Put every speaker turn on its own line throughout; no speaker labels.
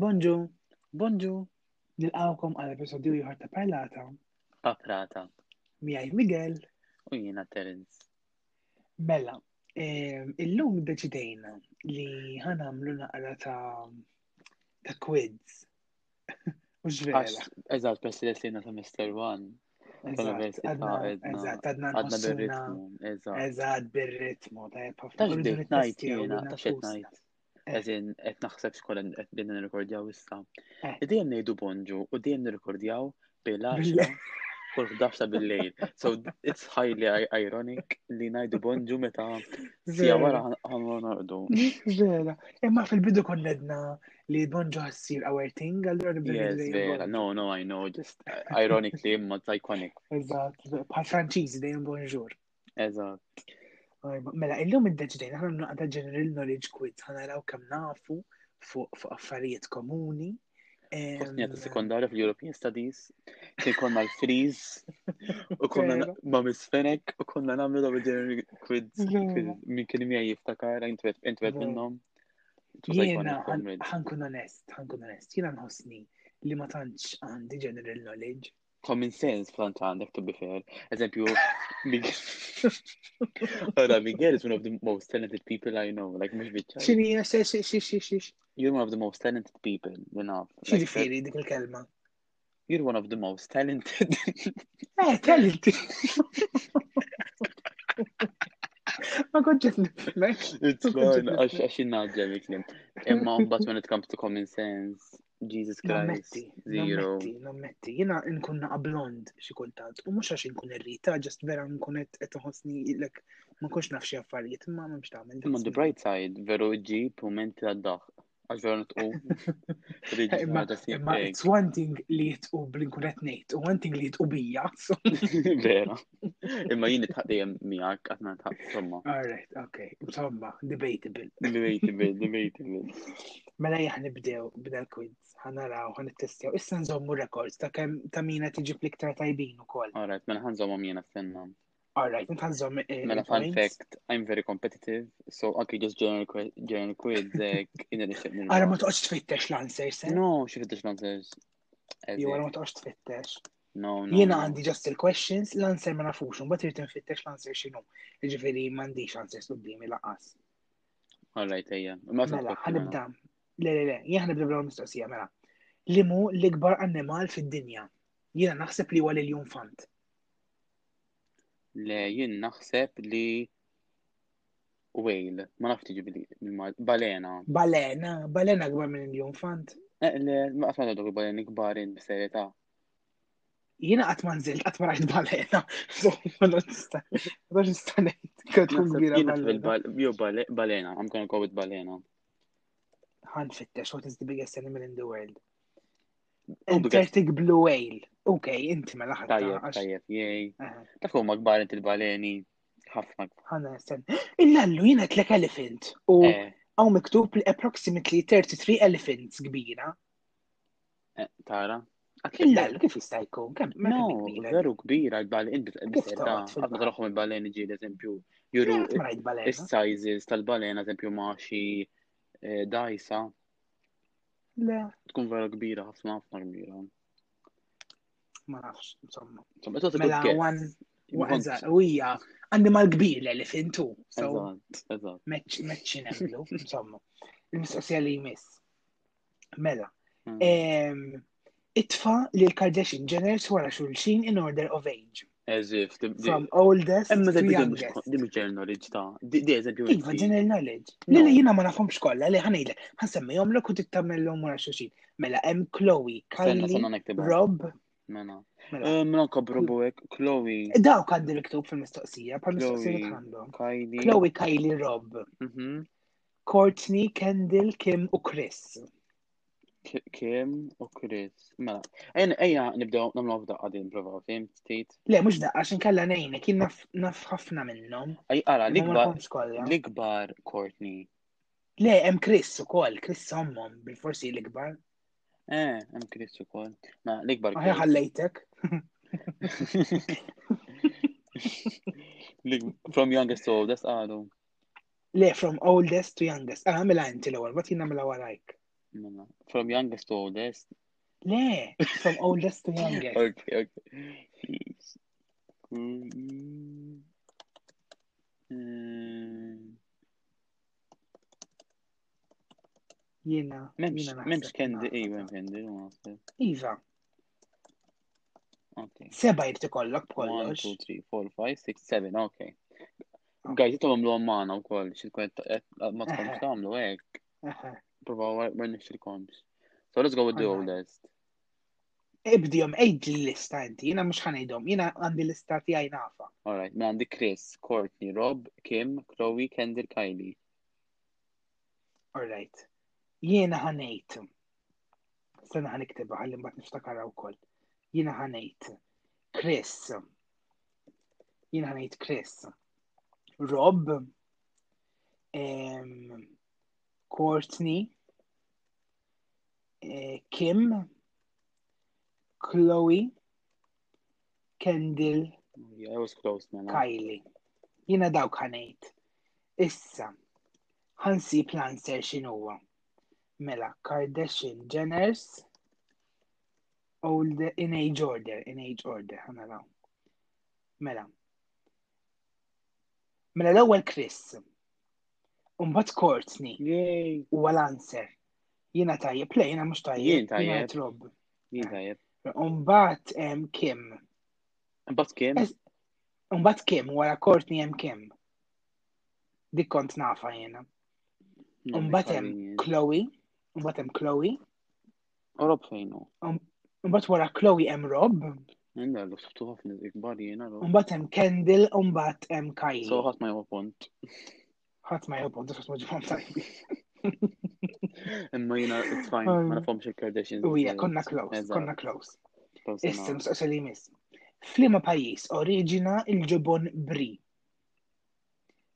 Bonġu, bonġu, nilqawkom għal episodju ieħor ta' Parlata.
Paprata.
Miaj Miguel,
U jina Terence.
Mela, em, illum deċidejna li ħanamlu naqra ta' ta' quiz. U ġvera.
Għax, eżat, president li jina ta' Mr. One.
Eżatt,
tal-università
għadna
għedna-
eżatt, għadna
Għadna
nħossuna.
bil-ritmu, eżat.
Eżatt, bil-ritmu, ta' jeppa.
Tax bdejt najt jina, tax et najt. Eżin, et naħseb xkola et bidna nirrekordjaw issa.
Eh.
Id-dijem nejdu bonġu, u d-dijem nirrekordjaw bil-10
Bil-lejl.
kull 11 ta' bil-lejl. So, it's highly i- ironic li najdu bonġu meta sija
Vera.
wara għanlu nardu.
Vera, imma fil-bidu konnedna li bonġu għassir our thing, għallura nibda
Yes,
nibda
vera. No, no, I know, just ironically, imma it's iconic.
Eżatt, bħal Franċiżi dejjem bonġur.
Eżat.
Ajma, Mela, illum id-deċidejn, ħana naqda general knowledge quiz, ħana raw kem nafu fuq fuq affarijiet komuni. Em,
Postnija ta' sekondarja fil-European Studies, kien konna l-freeze, u konna
Vera.
ma' Miss Fenek, u konna namlu da' bġer quiz,
Vera.
quiz, min kien mija jiftakar, intwet
Vera.
minnom.
Jiena, ħan- ħankun onest, ħankun onest, jiena nħossni li ma tantx għandi general knowledge.
Common sense plant għandek, to be fair. Eżempju, Ora, Miguel is one of the most talented people I know, like, mux bitċa.
Xini, xe, xe, xe, xe, xe, xe,
You're one of the most talented people, you know.
xe,
Like,
xe, dik il-kelma.
You're one of the most talented.
Eh, talent. Ma konċet nifmek.
It's fun, għax għax innaġġa miklim. Imma mbagħad when it comes to common sense, Jesus Christ,
Nammetti,
zero.
nammetti, nammetti. Jena nkun naqa blond xi kultant. U mhux għax inkun irrita, ġest vera nkun qed qed inħossni lek ma nkunx naf xi affarijiet, imma m'hemmx tagħmel.
Imma on the bright side, veru ġib momenti għad-daħ. Għax veru nitqu. Riġi,
Imma-
għadha sib
Imma
hekk.
it's one thing li jitqu bl-inkun qed ngħid, u one thing li jitqu bija. So,
Vera. Imma jien nitħaq dejjem miegħek qatt ma nitħaq somma.
all right, okay. Insomma, debatable.
Debatable, debatable.
Mela jih nibdew bida l-quiz, ħanaraw, ħanittestjaw. Issa nżommu records ta' kemm ta' mina tiġi fl-iktar tajbin ukoll.
All right, mela ħanżomma miena s-senna.
All right, inta nżomm eh,
Mela fun fact, I'm very competitive, so okay, just general que- general quiz hekk in addition.
Ara ma toqgħodx tfittex l-answer se.
No, xi fittex l-answers.
Jew għara ma toqgħodx tfittex.
No, no.
Jiena
no.
għandi just il-questions, l-answer ma nafux, un bat irrit nfittex l-answer xinu. Ġifiri mandiċ answers qoddimi laqas.
Alright, ejja. Ma
Mela,
saqfok,
ħanibda. Le, le, le, jien ħanibda bl mistoqsija, mela. Limu l-ikbar annimal fid-dinja. Jiena naħseb li huwa l-junfant.
Le, jien naħseb li whale, ma nafx tiġi bil-mal, balena.
Balena, balena akbar minn l-junfant.
Eh, Le, ma qasma dawk balena kbarin b'serjetà.
Jiena qatt ma nżilt, qatt ma rajt balena. So, ma nista. Ma nista ngħid kien tkun
Naħseb
kbira
jien naħseb
balena.
il-bal- jew bale- balena, I'm gonna go with balena.
Ħanfittex, what is the biggest animal in the world?
Oh, biggest-
Antarctic blue whale. Okay, inti mela ħadd.
Tajjeb, tajjeb, jej. Taf huma kbarin il-baleni, ħafna.
ħana sen. Il-lallu jina tlek elephant u
Eh,
għaw miktub li approximately 33 elephants kbira.
eh, tara. Għatli-
Il-lallu kif jista' jkun? Kemm ma
No,
kemm kbira?
veru kbira l-balena b'serjetà.
toqgħod fil-bal-
Għatma taraħħom il-baleni ġieli, eżempju.
Juru.
Juru
Eh, Ma rajt balena.
is-sizes tal-balena, eżempju, ma' xi eh, dajsa.
Le,
tkun vera kbira, ħafna ħafna kbira.
ma nafx, insomma.
Insomma, it's not a good
Mela,
guess.
wan,
You want-
waqza, u hija animal kbir l-elephant u. So,
Eżatt, eżatt.
meċċin għamlu, insomma. Il-mistoqsija li jmiss. Mela,
Mm.
em, itfa li l-Kardashian Jenners wara xulxin in order of age.
As if, di- di-
From oldest
Emma
to
da di mux
youngest.
di mux ġerno li ġta. Di di eżempju.
Iva, general knowledge.
No.
Li li jina ma nafhomx kollha, li ħanejlek, ħansemmihom l u tittamellhom wara xuxin. Mela hemm Chloe,
Sanna,
Kylie,
sanna nektibu.
Rob,
Mena.
mela.
Mena kabru buwek, Chloe,
Dawk għandi miktub fil-mistoqsija, bħal mistoqsija
Chloe.
tħandhom.
Kylie.
Chloe, Kylie, Rob,
Mhm.
Courtney, Kendall, Kim u Chris.
Ki- Kim u Chris. Mela. Ejna, ejna, nibdew namlu għafda għadin, prova, fim, stit.
Le, mhux daqqa għax inkella nejnek, jien naf- naf ħafna minnhom.
Ej,
imma Ma
ara, Ah, l-ikbar,
nafhomx kollha.
l-ikbar Courtney.
Le, hemm Chris ukoll, Chris ommhom, bil-forsi l-ikbar.
Eh, għem Chris u kol. Ma, l-ikbar
Aħja
Chris.
ħallejtek.
Lig- From youngest to oldest, għadu.
Le, from oldest to youngest. Ah, mela inti l-ewwel, ma tina mela warajk.
Mela, From youngest to oldest.
Le, from oldest to youngest.
Okay, okay. Please. Mm. Mm.
Jena,
Memx,
jena
memx
naħseb
kendi,
naqra.
ejwen kendi, u għasib.
Iva,
Okay.
seba jibti kollok
One,
b'kollox.
two, three, four, five, six, seven, okay. Guys, jittu għamlu għammana u koll, xil-kwet, ma tkomx
Eħe.
għamlu, ek,
Aha.
provaw għarni xil-komx. So let's go with the
Alright.
oldest.
Ibdijom, ejd li lista inti, jena mux ħanajdom, jena għandi lista tijaj nafa.
Alright, me għandi Chris, Courtney, Rob, Kim, Chloe, Kendall, Kylie.
Alright. Jena ħanejt. Sena ħaniktiba għalli mbat niftakara u koll. Jena ħanejt. Chris. Jena ħanejt Chris. Rob. Em, Courtney. eh, Kim. Chloe. Kendall.
Oh, Yeah, I was close, man.
Kylie. Jina dawk ħanejt. Issa, ħansi planser xinuwa. Mela, Kardashian Jenners, old in age order, in age order, ħanaraw. Mela. Mela l-ewwel Chris. Umbat Courtney,
Yay!
u għal-answer. Jina tajjeb, le, jina mux
Jien
tajjeb, jina
tajjeb.
trob.
Jizajib.
Umbat em, Kim.
Bat Kim?
Es- Umbat Kim, wara Courtney em Kim. Dik kont nafa jena. Unbatem Chloe, unbatem Chloe,
Oh, Rob fejnu.
unbat wara Chloe em Rob,
Nenda, l-uftu ħafna ikbar jena, Rob.
unbat em Kendall, unbat em
So
Kylie.
ħat ma jgħu punt.
Ħadd ma jobbu, dak ma ġibhom tajbi.
Imma jena, it's fine,
Um,
ma nafomx il-Kardashians.
U hija, konna close,
Eżatt,
konna close.
uh, close
Issa
enough.
mistaqsa li jmiss. Flima pajjiż oriġina il-ġubon Bri.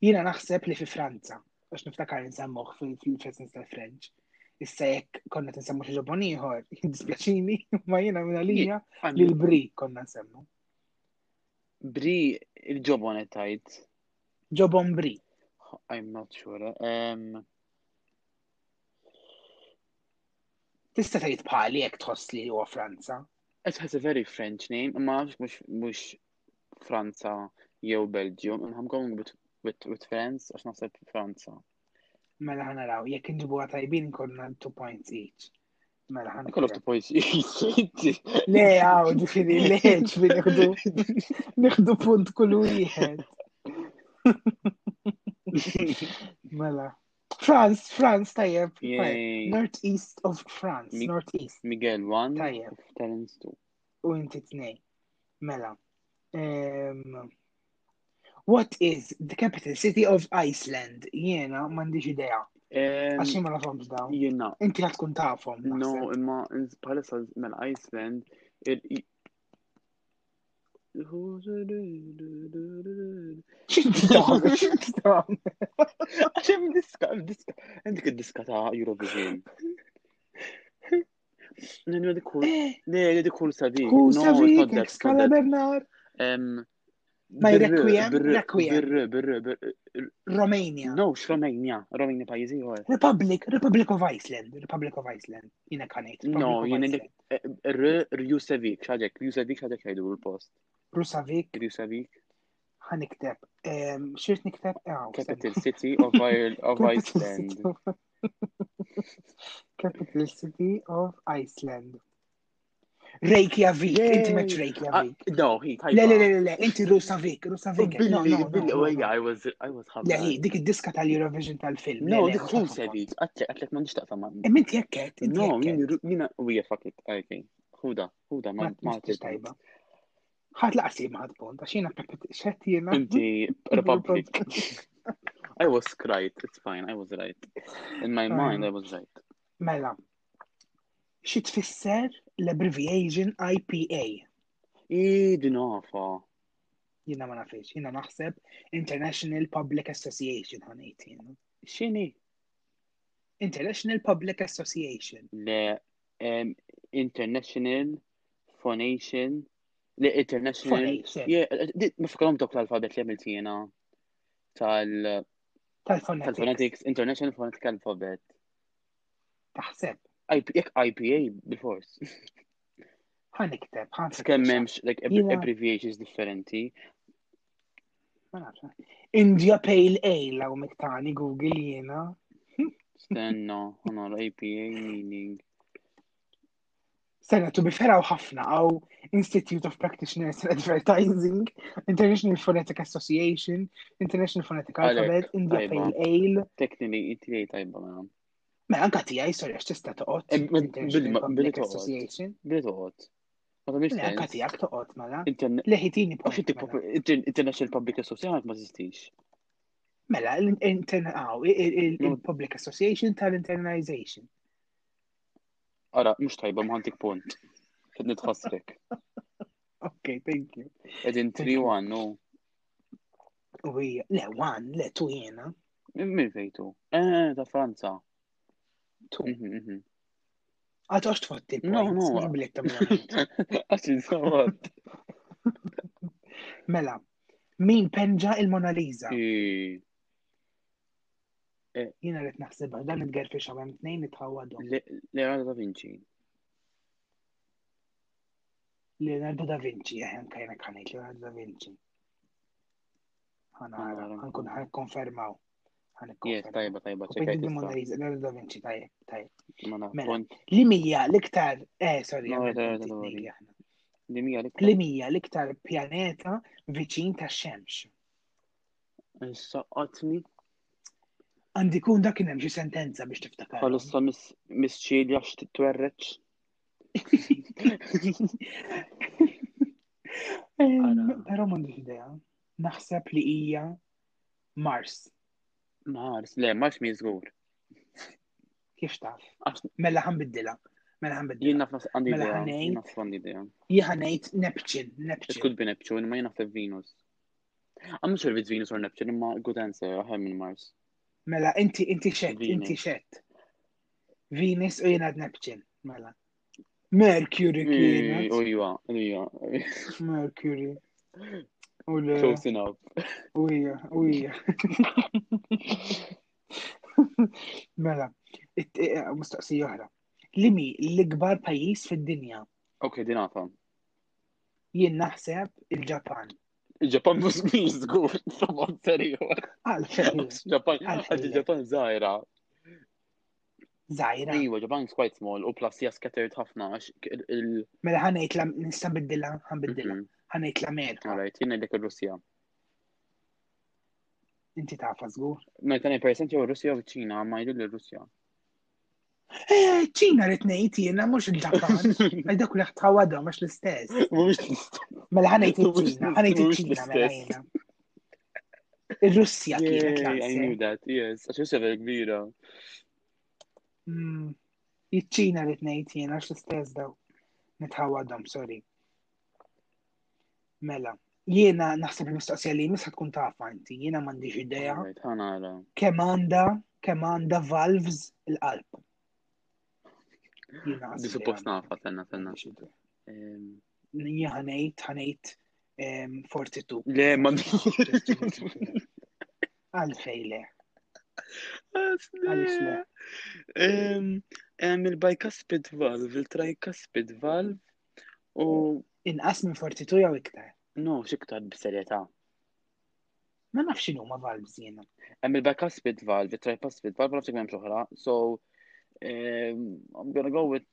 Jiena naħseb li fi Franza, għax niftakar nsemmuh fil-fessens tal-French. Issa jekk konna tinsemmu xi ġobon ieħor, jiddispjaċini, ma jiena minn għalija li
Għandi,
l-Bri konna nsemmu.
Bri, il-ġobon tajt.
Ġobon Bri.
I'm not sure. Um,
Tista tgħid bħali jekk tħoss li huwa Franza.
it has a very French name. Ma nafx mux, mux Franza jew Belgium. And I'm going with, with, with France, għax naħseb Franza.
Mela ħa naraw, jekk inġibuha tajbin konna 2 points each. Mela ħan.
Kollu f'ta pojsi.
Le, għaw, ġifiri, le, ġifiri, nieħdu- nieħdu punt kull wieħed. Mela. France, France, tajjeb. tajjeb.
Yay.
Northeast of France,
Mi-
Northeast.
Miguel, one.
Tajjeb.
Terence, two.
U inti tnej. Mela. Em, what is the capital city of Iceland? Jena m'għandix idea.
Um,
Għaxi ma nafhomx dawn.
you know,
Inti għad tkun tafhom. naħseb.
no, imma palissa mel Iceland, il...
Xinti tafhom, xinti tafhom.
Għaxem diska, diska, għandik id-diska ta' Eurovision. Nenna di kull,
Eh,
le, le di kull sadik.
Ku
No,
savik,
it's not that,
Excalibur nar.
it's not that. Um,
Ma
birr,
Requiem,
birr,
Requiem.
birr, birr, birr,
Romania.
No, x-Romania, Romania pajizi għor.
Republic, Republic of Iceland, Republic of Iceland. Jina kanejt. Republic
No,
of
jien
Iceland.
dik- Rjusavik, xaġek, Rjusavik xaġek jajdu l-post.
Rusavik,
Rjusavik,
ħanikteb. Em, Xirt nikteb? Eh, Ew,
capital city of, Ir- of
Capital
Iceland.
Capital City of Iceland. Reykjavik,
Yay!
inti meċ
Ah,
Reykjavik.
No, he,
Le, le, le, le, le, inti Rusavik, Rusavik.
Billy,
No, no,
Billy,
no,
oh, yeah,
no.
I was, I was
Le,
hungry.
hi, dik id-diska tal-Eurovision tal-film. Le,
No,
le,
dik
mhux
who's
tafhom.
heavy? Għatlek, għatlek ma nixtaq ta' ma.
Imma inti jekket, inti
No,
jekket.
jien, jina, u jie fuck it, okay. Huda, huda, ma
Ma
ma
tistax tajba. Ħadd laqsi ma ħadd punt, għax jiena xed jiena.
Inti, Republic. I was right, it's fine, I was right. In my mind, I was right.
Mela. Xi tfisser l-abbreviation IPA?
Idi nafa.
Jiena ma nafx, jiena naħseb International Public Association ħanejt jiena.
Xini?
International Public Association.
Le, um, International Phonation, le, International.
Phonation.
Yeah, eh, di- ma fikarom dok l-alfabet li għamilt jiena tal-
Tal-phonetics.
tal-phonetics, International Phonetic Alphabet.
Taħseb.
IP jekk IPA bil-fors.
Ħan ikteb, ħan
Kemm m'hemmx like ab-
Jiena-
abbreviations differenti.
Ma nafx. India Pale Ale għaw miktani Google jena.
Stenna, ħanara IPA meaning.
Sena, tu biferaw ħafna għaw Institute of Practitioners in Advertising, International Phonetic Association, International Phonetic
Għalek,
Alphabet, India
tajba.
Pale Ale.
Technically it tajba mela.
Ma anka tijaj, sorry, għax tista toqot.
Eh, ma- bil-
International
ma- billi
Public
toqgħod.
Association.
Bli toqgħod. Ma tagħmilx
Le, Anka
sens.
tijak toqot, mela.
Intern-
Leħitini
Għax inti
bħal.
oh, inter- International Public Association ma tistix.
Mela, ah, l-internaw,
Mm.
il-Public Association tal-Internalization.
Ara, mhux tajba m'għandik punt. Qed nitħassrek.
Ok, thank you.
Qegħdin 3-1, no.
U hija, le, one, le, tu jena.
Min min fejtu? Eh, ta' Franza.
Tu.
Mhm, mhm.
Għad għax tfotti
No,
points,
no.
jien bilek tamla.
Għax insawat.
Mela, min penġa il-Mona Lisa?
Eh,
Jena rrit naħsibha, dan it-gerfix għamem t-nejn it-ħawadhom.
Le- Leonardo da Vinci.
Leonardo da Vinci, eħen kajna kanejt Leonardo da Vinci. Għana,
Għanara.
għankun għan konfermaw. Għan
Yes,
konfermaw.
tajba, tajba,
U
ċekajt
di Mona
issa.
Lisa, Leonardo da Vinci, tajjeb, tajjeb.
Ma naf,
Mela.
punt.
Li mija l-iktar, eh, sorry,
No,
għamel
no, no,
punti
no,
t-nejn
no.
li aħna.
Li mija li
Li mija l-iktar pjaneta viċin tax xemx.
Saqqatni.
Għandi kun dak kien hemm xi sentenza biex tiftakar.
Palissa misċilja għax t-twerreċ. Ara.
Però m'għandix idea. Naħseb li hija Mars.
Mars, le, Mars mi zgur.
Kif taf?
Għax
Mela ħanbiddilha. Mela
jien
ħanbiddilha.
naf nas għandi
Mela
idea.
ħanejt.
Jien naf għandi idea.
Jiena ngħid Neptune,
It
Neptune.
could be Neptune, ma jien naf Venus. I'm not sure if it's Venus or Neptune, ma good answer, aħem minn Mars.
Mela inti inti xett,
Venus.
inti xett. Venus u jiena Neptune. Mela. Mercury kienet.
Ujwa, ujwa.
Mercury. U le-
Close enough.
u hija, u hija. Mela, it- eh, mistaqsija oħra. Li mi l-ikbar pajjiż fid-dinja
Ok, din għafa.
jien naħseb il-Ġapan.
Ġapan mux mi zgur, sabon serju.
آه، Għalfejn,
Ġapan,
Għalfejn.
għaddi Ġapan zaħira.
zaħira.
Iwa, Ġapan is quite small, u plus hija scattered ħafna għax il- il-
Mela ħanejt la nista' biddilha, ħanbiddilha.
Mhm,
Ħanejt l-Amerika.
Alright, jien dik il-Russija.
Inti tafa żgur.
Najtani percent jew Russija u ċina, ma jidil il-Russja.
Eh, ċina rrid ngħid jiena mhux il-Ġapan. Għal dak li ħtħawadhom għax l-istess. Mela ħanejt iċ-Ċina, ħanejt
Mhux
iċ-Ċina mela
l-istess.
jiena. Ir-Russja mela kienet
Yay, I knew
l-Azja.
that, yes. Għax Russja vera kbira.
Mm, Iċ-Ċina rrid ngħid jien għax l-istess daw. Nitħawadhom, sorry. Mela, jiena naħseb il-mistoqsija li mis tkun tafa inti, jiena m'għandix idea
Alright, ħanara.
kemm għandha kemm għandha valves il-qalb. Jiena
Di suppost nafa, tenna, tenna. Ehm,
Jiena ħanejt ħanejt ehm, em, 42.
Le, Eh, ma
Għalfej le. Għalix le?
Ehm, Għam il-bicuspid valve, il-tricuspid valve, u
Inqas minn 42 jew iktar.
no, xiktar b-serjeta.
Ma nafx x'inhu ma valves jiena.
Għam il-bicuspid valve, il-tricuspid valve, nafxek għem xoħra, so ehm, I'm gonna go with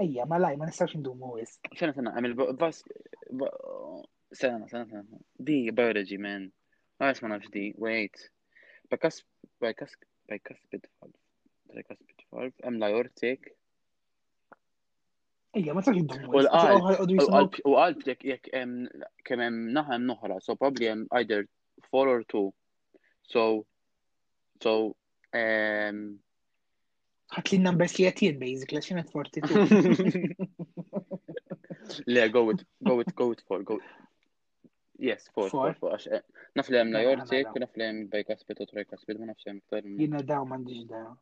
Ejja, ma laj, ma nistax ndumu wis.
Sena sena, għamil vas. Sena sena sena. Di biology, man. Għax ma nafx di, wait. Bekas, bekas, bekas bitfalv. Bekas bitfalv. Għam la jortik.
Ejja, ma nistax ndumu
U
wis.
l-qalb,
Għaxi għodu
U
jisimaw-
għalb, u għalb jek jek kemem naħem noħra. So probably għam either four or two. So, so, um,
ħat li n-numbers li għatien, basically, għax jena 42.
Le, go with, go with, go with four, go. Yes, four, four,
Four.
four. għax, eh, Naf li hemm la
Mela,
jortik,
mela.
naf li hemm bajkaspit u trajkaspit, ma nafx hemm iktar. minn-
Jina daw mandiġ daw.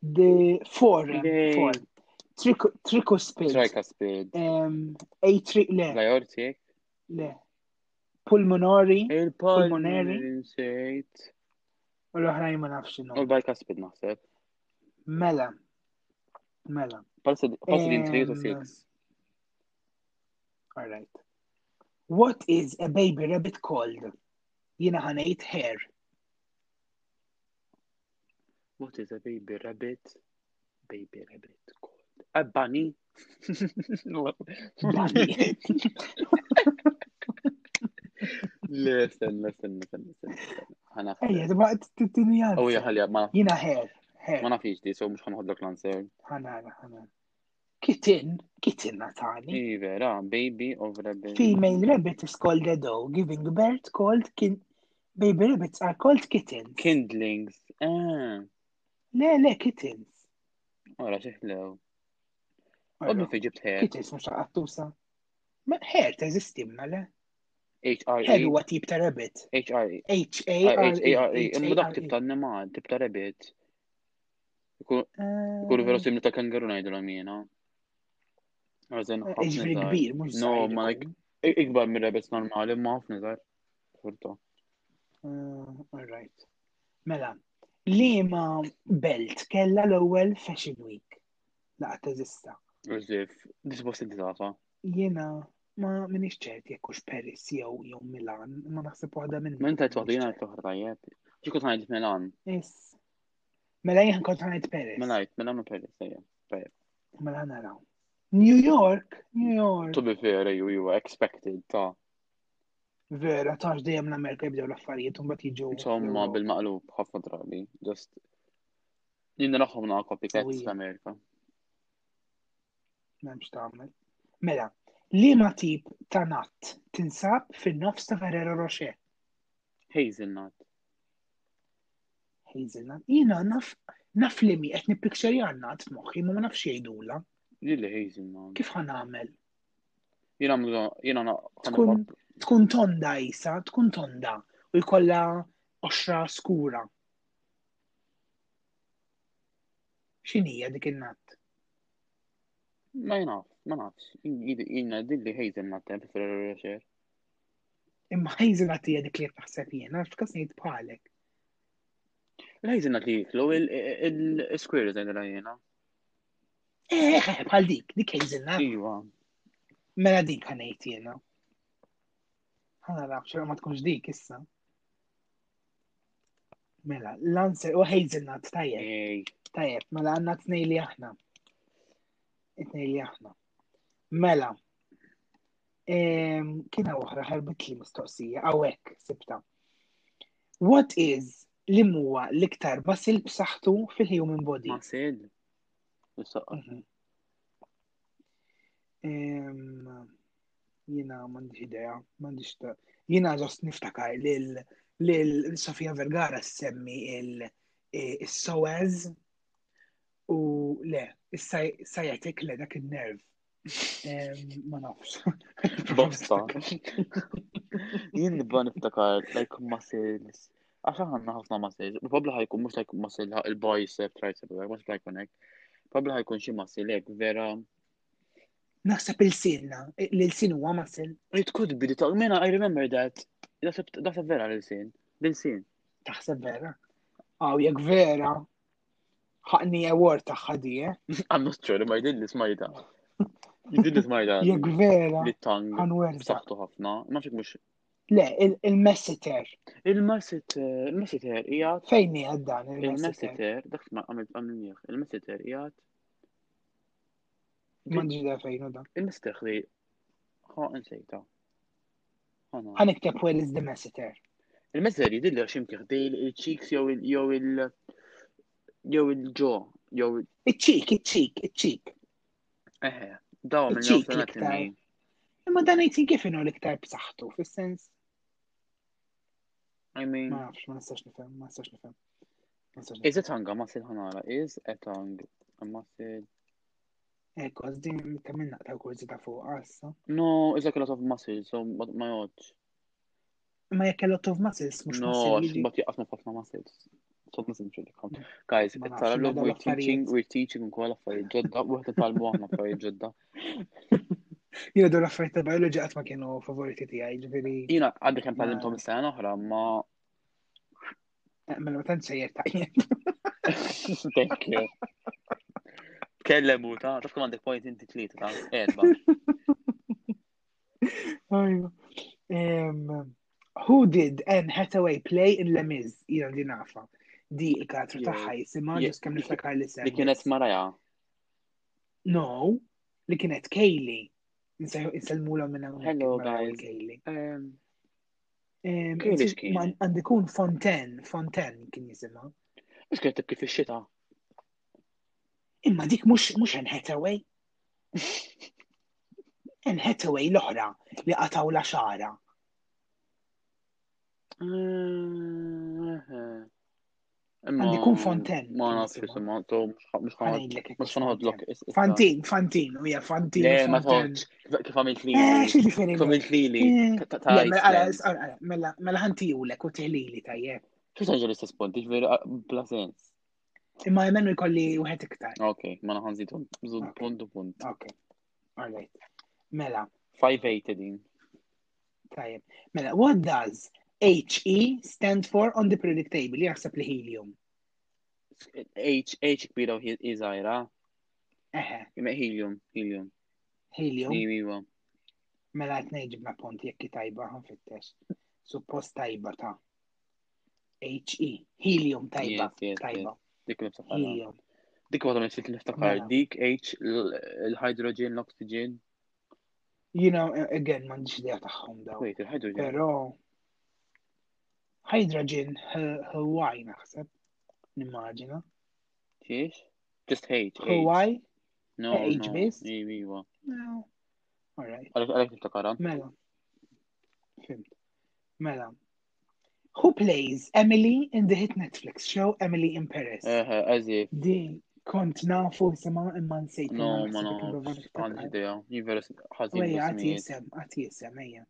The four, em,
Yay.
four. Trico- Tricuspid.
Trajkaspid,
Em, Atri, le,
la jortik.
le. Pulmonari.
Il-pulmonary
Pulmonary.
insejt.
U l-oħrajn ma nafx
U
x'inhu.
l-bicuspid naħseb.
Mela. Mela.
Palsid din 3 u
Em,
6.
All right. What is a baby rabbit called? Jina ħanejt hair.
What is a baby rabbit? Baby rabbit called. A bunny?
Bunny.
Le, stenna, stenna, stenna, stenna. Għana
Ejja, tibqa t-tini
U jgħalja, Oh, ma naf-
Jina hair.
ma
Hair.
nafix di, so mux ħanħodlok l-answer.
Ħanara, ħanara. Kitten. Kitten natani.
I vera, baby of rabbit.
Female rabbit is called a doe. Giving birth called kin... Baby rabbits are called kittens.
Kindlings. Ah,
Le, le, kittens.
ora xeħlew.
Ora,
Għoddu fi ġibt hair.
Kittens mux għattusa. Ma hair teżisti ma le. Hair
H-R-E.
huwa tip ta' rabbit.
H-R-E.
H-A-R-E.
H-A-R-E. E. Imma
E.
dak tip ta' animal, tip ta' rabbit. Ikun
Kuru
Kuru veru simli ta' kangaru najdu l jena. Għazin,
Iġbri kbir, mux
No, ma like- Ikbar minn rebes normali, ma' ħafna zar. Furto.
Alright. Uh, Mela, li ma belt kella l-ewel Fashion Week. Laqa teżista.
Użif, disbost inti tata.
Jena ma minix ċert jekkux Paris jew jew Milan, ma naħseb waħda minn.
Minn tajt waħdina għajt uħra tajjeb. Ġikut għajt Milan.
Yes. Mela jien kont ħanajt Paris.
Mela għajt, Milan u Peris, tajjeb.
Mela naraw. New York, New York.
To be fair, you, you were expected ta'
Vera, taħx dejjem l-Amerika jibdew l-affarijiet un bat jiġu.
insomma bil-maqlub ħafna drabi. Just. Jinn naħħom na' copycats
Ui.
fl-Amerika.
Memx tagħmel. Mela, li ma tip ta' natt tinsab fin-nofs ta' Ferrero Rocher?
Hazelnut.
Hazelnut. Jina naf naf li mi qed nippikċerja natt f'moħħi ma ma nafx jgħidula.
Lilli Hazelnut.
Kif ħanamel?
Jina mżon, jina na'
Tkun tkun tonda isa, tkun tonda u jkollha oxra skura. X'inhija dik in-natt?
Ma jinaf, ma nafx. Jina dilli Hazelnut ta' Ferrero Rocher.
Imma Hazelnut hija dik li qed naħseb jien, għax kas ngħid bħalek.
L-ħajżinat li jiklu il-square zaħin l-ħajjena.
Eh, eh, bħal dik, dik Hazelnut.
Iwa.
Mela dik ħanejt jena. Ħana naf, xorra ma tkunx dik issa. Mela, l-answer, u Hazelnut, tajjeb,
Ej,
tajjeb, mela għanna t-nej li aħna. T-nej li aħna. Mela, em, kiena uħra ħarbit li mistoqsija, għawek, sibta. What is li muwa l-iktar basil b'saħħtu fil-human body?
ma sed. Issa-
Mhm. Em, Jina mandiġ idea, mandiġ ta' jina ġost niftakar lil lil Sofia Vergara semmi il إيه، il-Soez u le, il-sajatik le dak il-nerv. Em, Ma nafx.
Bosta. Jien nibba niftakar, like muscles. Għaxa ħanna ħafna muscles. Probably ħajkun mux like muscle ħa- il-bicep, tricep, like mux ħajkun ek. Probably ħajkun xie muscle ek, vera.
Naħseb il-sinna, l-sin huwa masil,
It could be, the- mena, I remember that. Dasab dasab vera l-sin. L-sin.
taħseb vera. Għaw, jek vera, ħaqni award taħħa di, eh?
I'm not sure, ma jidilli smajda. Jidilli smajda.
jek vera,
Li tang.
għanwerza.
B'saħħtu ħafna. Ma xek mux
Le, il- il-messiter.
Il-Messeter, il-Messeter jgħat,
Fejn hija dan il-messiter?
il-Messeter, dak ma għamilt għamil miħ, il-Messeter jgħat,
M'għandix da fejn hu dan.
il-Messeter li, ħa nsejta. Ħana.
Ħanikteb where is the messiter.
Il-Messeter jidilli għaxim kħdej il-cheeks jew il- jew il- jew il-ġo, jew il-
Iċ-ċik, iċ-ċik, iċ-ċik.
eħe, daw minn
Il-cheek
daw sanat
liktar.
il-nejn.
Imma dan jtin kif inhu l-iktar b'saħħtu, fis-sens
I mean,
ma nafx, ma nistax nifhem, ma nistax nifhem. Ma nistax nifhem.
Mm. is it hanga ma sil ħanara, is a tang, ma sil,
Ekk, għażdi kemm innaqta kurzi ta' fuq għassa.
no, is like a lot of muscles, so ma ma joċ.
Imma jekk a lot of muscles mhux
No,
muscle
għax
jiġi.
bat jaqasma f'ħafna muscles. So ma simxu li kom. Guys,
Ma nafx,
it-tara
ma
we're
dal-affarijiet.
teaching, we're teaching ukoll affarijiet ġodda, u għet talmu għahna affarijiet ġodda.
Jiena dur affarijiet ta' biology qatt ma kienu favoriti tiegħi, ġifieri.
Jina għaddi kem
Ma-
tal-intom s-sena oħra, ma
Mela ma tantx sejjer tajjeb.
Thank you. Kellem u ta' taf kum għandek point inti tlieta ta' erba.
Ajwa. Em, Who did Anne Hathaway play in Le Mis? Jina di nafa. Di il-katru
Jew.
taħħa jisima
Je-
ġus kem niftakar li sem.
Li kienet maraja.
No, li kienet Kaylee. Nselmula minna
Hello, guys.
Kaylee.
Um,
mela, Em,
Kaylee
insi-
x'kienet?
ma Għandikun Fontaine, Fontaine kien jisima.
Mux kienet tibki fi xita.
Imma dik mux mux Anne Hathaway. Anne Hathaway l-oħra li qataw la xara. Ehm.
Għandi
Għandikun Fontaine.
Ma naf jisima, to mux ħanħod.
Għanidlek.
Mux ħanħod lok. issa.
Fantin, Fantin, oh u ja, Fantin.
Le, ma
Fontaine.
toħġ. Kif għamilt li?
Eh, xi differenti.
Kif għamilt li li?
Eh,
Ta- ta-
Le, mela, ara,
Iceland.
ara, ara, Mela, mela ħantijulek u tiħlili tajjeb.
Kif taġġa l-istess punti? Ġveri, bla sens.
Imma jemmen jkolli wieħed iktar.
Ok, ma naħanżit bżud punt u punt.
Ok, all right. Mela,
5-8 din.
tajjeb. Mela, what does HE stand for on the periodic table? Li jaħseb li helium.
H, H kbira u hi- hi zaħira.
Eħe,
Jimma helium, helium.
helium.
Iwa.
Mela qed ngħidibna pont jekk hi tajba ħanfittex. Suppost tajba ta' HE. Helium tajba,
Yes, yes,
tajba.
Dik li b'saħħa.
Helium.
Dik għadha minn li niftakar.
Mela.
Dik H, l- l-hydrogen, l-oxygen.
You know, eh, again, m'għandix idea tagħhom daw.
Wait, il-hydrogen.
Pero hydrogen H- Hawaii naħseb nimmaġina.
Xiex? Just H. H.
Hawaii?
No,
H
no.
base?
Iwa.
No. All right.
Għalek għalek niftakara.
Mela. Fimt. Mela. Who plays Emily in the hit Netflix show Emily in Paris?
Eh, Għazif.
Di kont nafu sema imma nsejt.
No, ma nafx. Għandix idea. Jivera ħazin.
Wejja, għati
bis-smijiet.
jisem, għati jisem, ejja.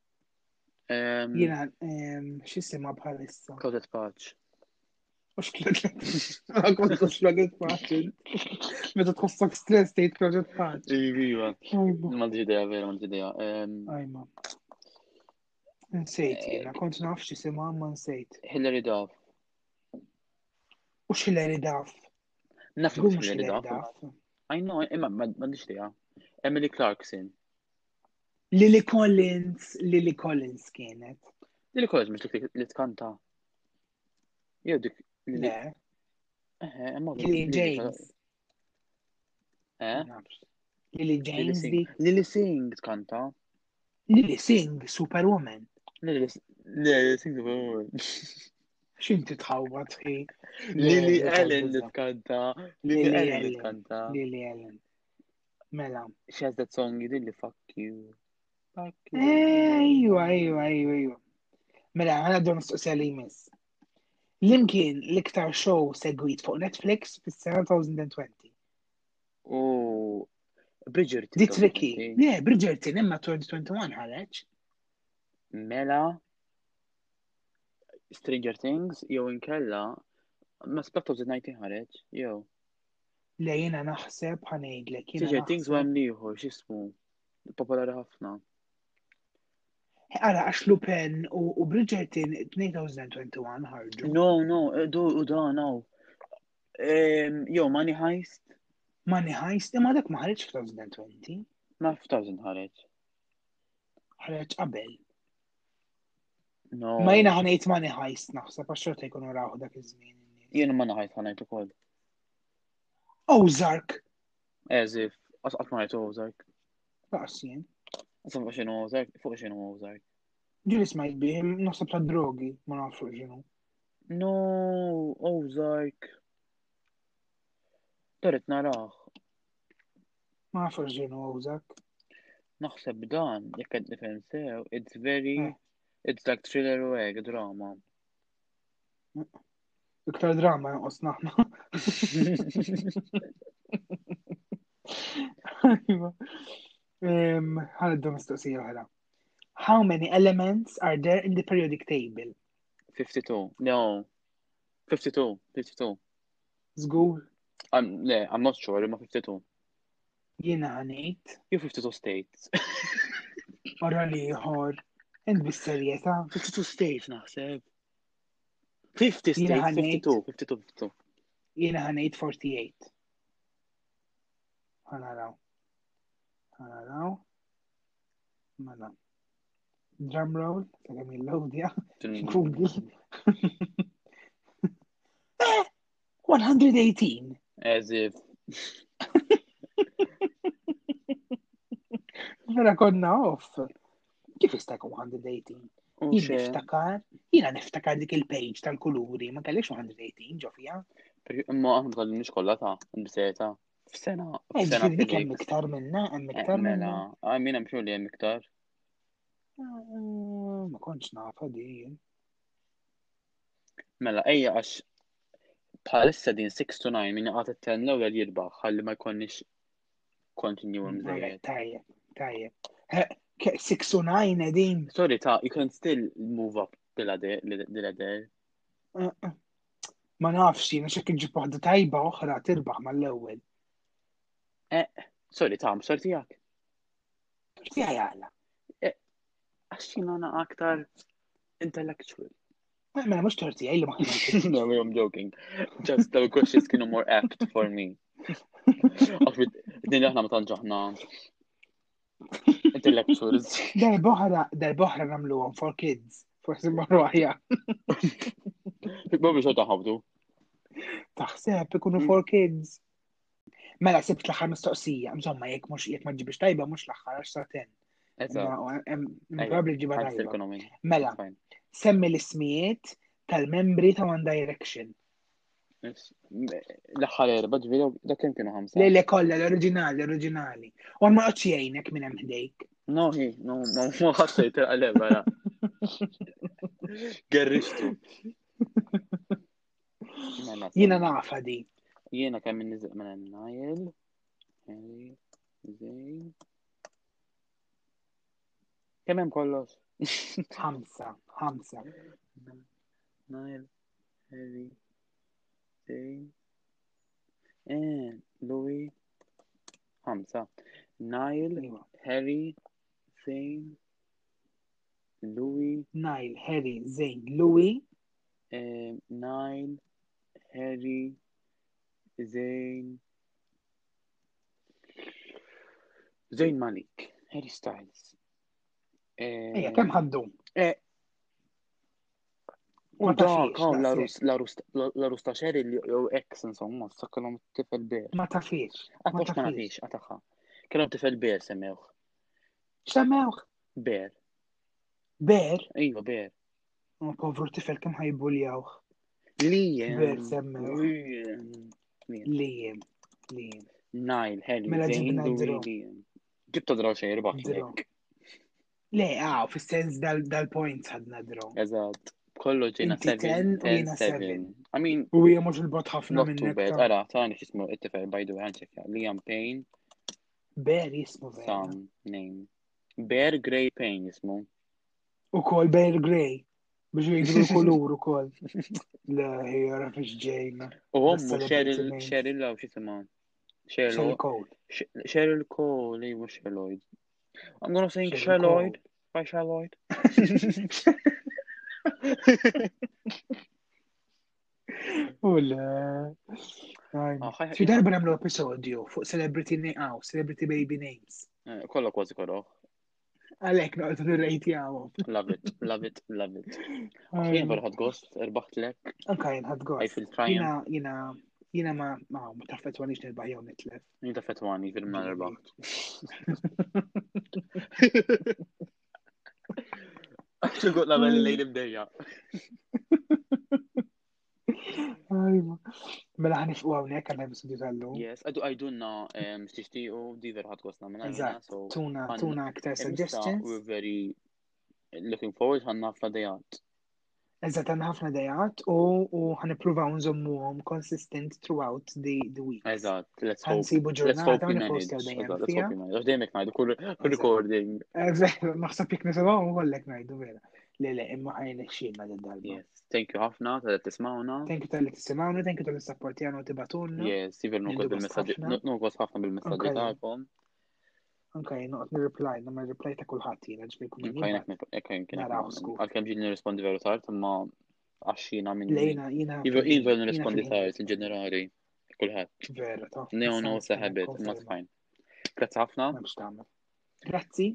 Em,
Jena, em, xisima bħalissa.
Claudia Spatch.
Mux klodlet. Ma kont kux klodlet faċil. Meta tħossok stress tgħid klodlet faċil.
Iwa.
Ajma.
Ma nafx idea, vera, ma nafx idea. Ehm, Em,
Ajma. Nsejt jiena, kont naf xi sema ma nsejt.
Hilary Duff.
U x'Hillary Duff.
Naf
Hu
li
mhux
Hilary
Hilary
Duff.
Duff.
I know, imma ma ma nafx idea. Emily Clarkson.
Lily Collins, Lily Collins kienet.
Lili Collins mhux dik li tkanta. Jew dik Lili.
Le,
Eh, imma
Lily James.
Eh?
Nafx. Lily
Lili
James
Singh.
dik.
Lili Singh tkanta.
Lily Singh, Superwoman.
Lili Lili Singh tkanta.
X'inti tħawwad ħi.
Lili
Le, le,
Allen li
le.
tkanta.
Lily
Lili Allen li
Allen.
tkanta.
Lily Allen. Mela.
She has that song din li fuck you. Fuck you.
Eh, Ejwa, ejwa, ejwa, ejwa. Mela, għana don s-soqsija li jmiss. Limkien l-iktar show segwit fuq Netflix fis sena 2020.
Oh. Bridgerton.
Di
tkanta,
tricky.
eh.
Le, Bridgerton imma 2021 ħareċ.
Mela, Stranger Things, jew inkella, ma spettaw zid najti ħareġ, jew.
Le, jena naħseb ħanejdlek. jena
Stranger Things u
naħseb.
għem liħor, xismu, popolari ħafna.
Għara, għax Lupin u u Bridgerton 2021 ħarġu.
No, no, eh, du, u da, no. Em, Jew, Money Heist,
Money Heist, imma dak ma ħareċ f'2020.
ma ftaw zid ħareġ.
ħareċ qabel.
No.
Ma jena ħanejt Money Heist naħseb għax xorta jkunu raħu dak iż-żmien.
Jena ma naħajt ħanajt u koll.
Ozark,
Eżif, għasqat ma ħajt Ozark.
laqsien.
Għasqat fuq xinu Ozark, fuq xinu Ozark.
Ġilis ma jibbiħim, naħseb ta' drogi, ma nafru ġinu.
No, oh, Ozark. Toret naraħ.
Ma nafru ġinu użak.
naħseb dan, jekk qed nifhem sew, it's very
Eh.
it's like thriller u hekk drama.
Iktar drama jonqos naħna. Iva. Għandu mistoqsija oħra. How many elements are there in the periodic table?
52. No. 52, 52.
Zgur,
I'm, le, I'm not sure, imma 52.
jina ħanejt,
Jew 52 states.
orra liħor, int bis-serjeta.
52 states naħseb. 50
Jina
state,
ħanejt.
52, 52, 52.
Jiena ħanejt 48. Ħanaraw. Ħanaraw. Mela. Drum roll, ta' kemm il-lowdja. Google. Eh, 118.
As if.
Vera Mela konna off. Kif jista' jkun 118?
u
Jien
xe,
niftakar, jiena niftakar dik il-page tal-kuluri, ma kellix 118 ġo fija.
per- Imma għahna tħalli nix kolla ta' n-biseta. F-sena,
Eh,
f-sena
ġifieri dik hemm iktar minna, hemm iktar
Mela,
minna.
għamina mxur li jem iktar.
Ah, Ma kontx nafa di. jien.
Mela, ejja għax bħalissa din 6 to 9 minna għata t-10 l-ewel jirbaħ, ħalli ma jkonniex continuum
Mela,
zaħjed.
Tajjeb, tajjeb. Eh, ke- 609 edin.
Sorry ta' you can still move up dil-għader.
Eh, eh. Ma nafx, jiena xek iġib waħda tajba oħra tirbaħ mal-ewwel.
Sorry ta' msorti għak.
Fija jgħala.
Għaxina għana aktar intellectual.
Mela mhux torti li ma
no, I'm joking. Just the questions kienu more apt for me. Għax din aħna ma tanġaħna intellectuals.
Darba oħra, darba oħra nagħmluhom for kids. Forsi marru aħjar.
Ma biex taħabdu.
Taħseb ikunu
Mm.
for kids. Mela sibt l-aħħar mistoqsija, insomma jekk mhux jekk ma ġibix tajba mhux l-aħħar għax saten.
Eżza, Ejja,
Probably ġibha
ħans
tajba.
ekonomi.
Mela,
Fine.
semmi l-ismijiet tal-membri ta' One Direction.
Yes. L-aħħar erba ġviri, da kem kienu ħamsa?
Lejle kollha l-oriġinali, l-oriġinali. U ma noqgħodx jgħinek minn hemm ħdejk.
No, hi, no, ma ma ħassajt għalem, għala. Gerrixtu. Mela,
Jiena nafa di.
Jiena kemm nizq minn Nile. Harry, Zayn. Kemm hemm kollox?
Ħamsa, ħamsa.
Nile, Harry, Zayn. Eh, Louis. Ħamsa. Nile,
Iwa.
Harry, Zayn. Louis,
Nile, Harry, Zayn, Louis,
eh, Nile, Harry, Zayn. Zayn Malik, Harry Styles. Eh,
Ejja, kemm ħaddu?
Eh.
Ma
Dak,
tafix,
hawn la
daqshekk.
rus- la rus- la- la rusta xeri li jew ex insomma, sakkalhom tifel ber.
Ma tafix. ma
Għatax ma
tafix.
nafix, għataxa. Kellhom tifel ber semmewh.
X'semmewh?
Ber.
Ber,
Iva, ber.
ma povru tifel kemm ħajbuljawh.
Liam.
Ber semmewh.
Liam. Liam.
Li jiem, li jiem.
Nile, Harry,
Mela
Zayn,
ġibna
Louis,
draw.
Liam. Ġibta draw xejn irbaħ
Draw. Le, għaw, fis-sens dal- dal-points ħadna draw.
Eżatt. Kollu ġejna
Inti
7,
10 u
10,
jiena
7. I mean,
U hija mhux il-bot ħafna
not too
minnek.
bad.
ta-
Ara, tani xismu it-tifel by the way, ħanċekja. Liam Payne.
Ber jismu vera.
some name. Bear Grey Pain jismu.
U kol Bear Grey. Biex jgħidu l-kulur u kol. Le, jgħara fiex ġejna.
U għommu
Best
Cheryl,
celebrity
Cheryl law xisiman.
Xel
Cheryl,
kol.
Cheryl Cole, li was Sherloid. I'm gonna sing
Cheryl
Sherloid by Sherloid.
U le.
Ah,
Għajna.
ħaj-
Fi darba namlu episodju fuq Celebrity Name, għaw, Celebrity Baby Names.
Eh, Kolla kważi kodoħ.
Għalek noqtu nirrejti għawom.
Love it, love it, love it. Jien barħad gost, erbaħt lek,
Anka jen ħad
I
għor.
feel triumph.
Jina, jina, jina ma, ma, ma taffet għanix nirbaħ jow nitlef.
Jien ta' fetwani, fil ma erbaħt. Xilgut la' belli lejn imdejja.
Għajma. Mela ħanif u għawnek għal episodju tal-lum.
Yes, għadu għajdunna mstixtiqu eh, di verħat gosna minna.
Eżatt,
so
Tuna,
għanna-
tuna aktar
and We're
suggestions.
very looking forward ħanna f'nadejat.
Eżat għanna ħafna dejat u u ħanipruvaw nżommuhom consistent throughout the, the week.
Eżat, let's hope.
Ħansibu
Let's hope
ġurnata
we
u
manage.
nipostjaw
Eżat,
dejjem
let's
fija.
hope we manage. Għax dejjem hekk ngħidu, kull kull
Eżatt.
recording.
Eżat, naħseb jek nisimgħu u għallek ngħidu vera. Le, le, imma ħajn xilma d-darba.
Yes, thank you ħafna tal tismawna.
Thank you tal-li tisimawni, thank you tal-li sapportjana u tibatunna.
Yes, even
Nindu
nukos bil-messagġi,
gost ħafna.
nukos ħafna
Anka
bil-messagġi
jien.
tagħkom.
Anka jien noqgħod nirreply, ma reply ta' kulħadd jiena ġbir kun
Kajnek kien
Naraw, skur.
għal kemm ġieli nirrispondi veru tard, imma għax jina minni.
Lejna, jina.
Iva iva nirrispondi
jina
tajt in ġenerali, kulħadd.
fil- Vera, ta'
Neo no sa habit, ma fine. Grazzi ħafna.
Mux tamel. Grazzi.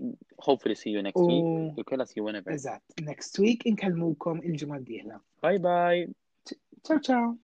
Hopefully see you next
U,
week. U kella see you whenever.
eżat, next week inkellmukom il-ġimma d-dihla.
Bye bye.
Ciao, ciao.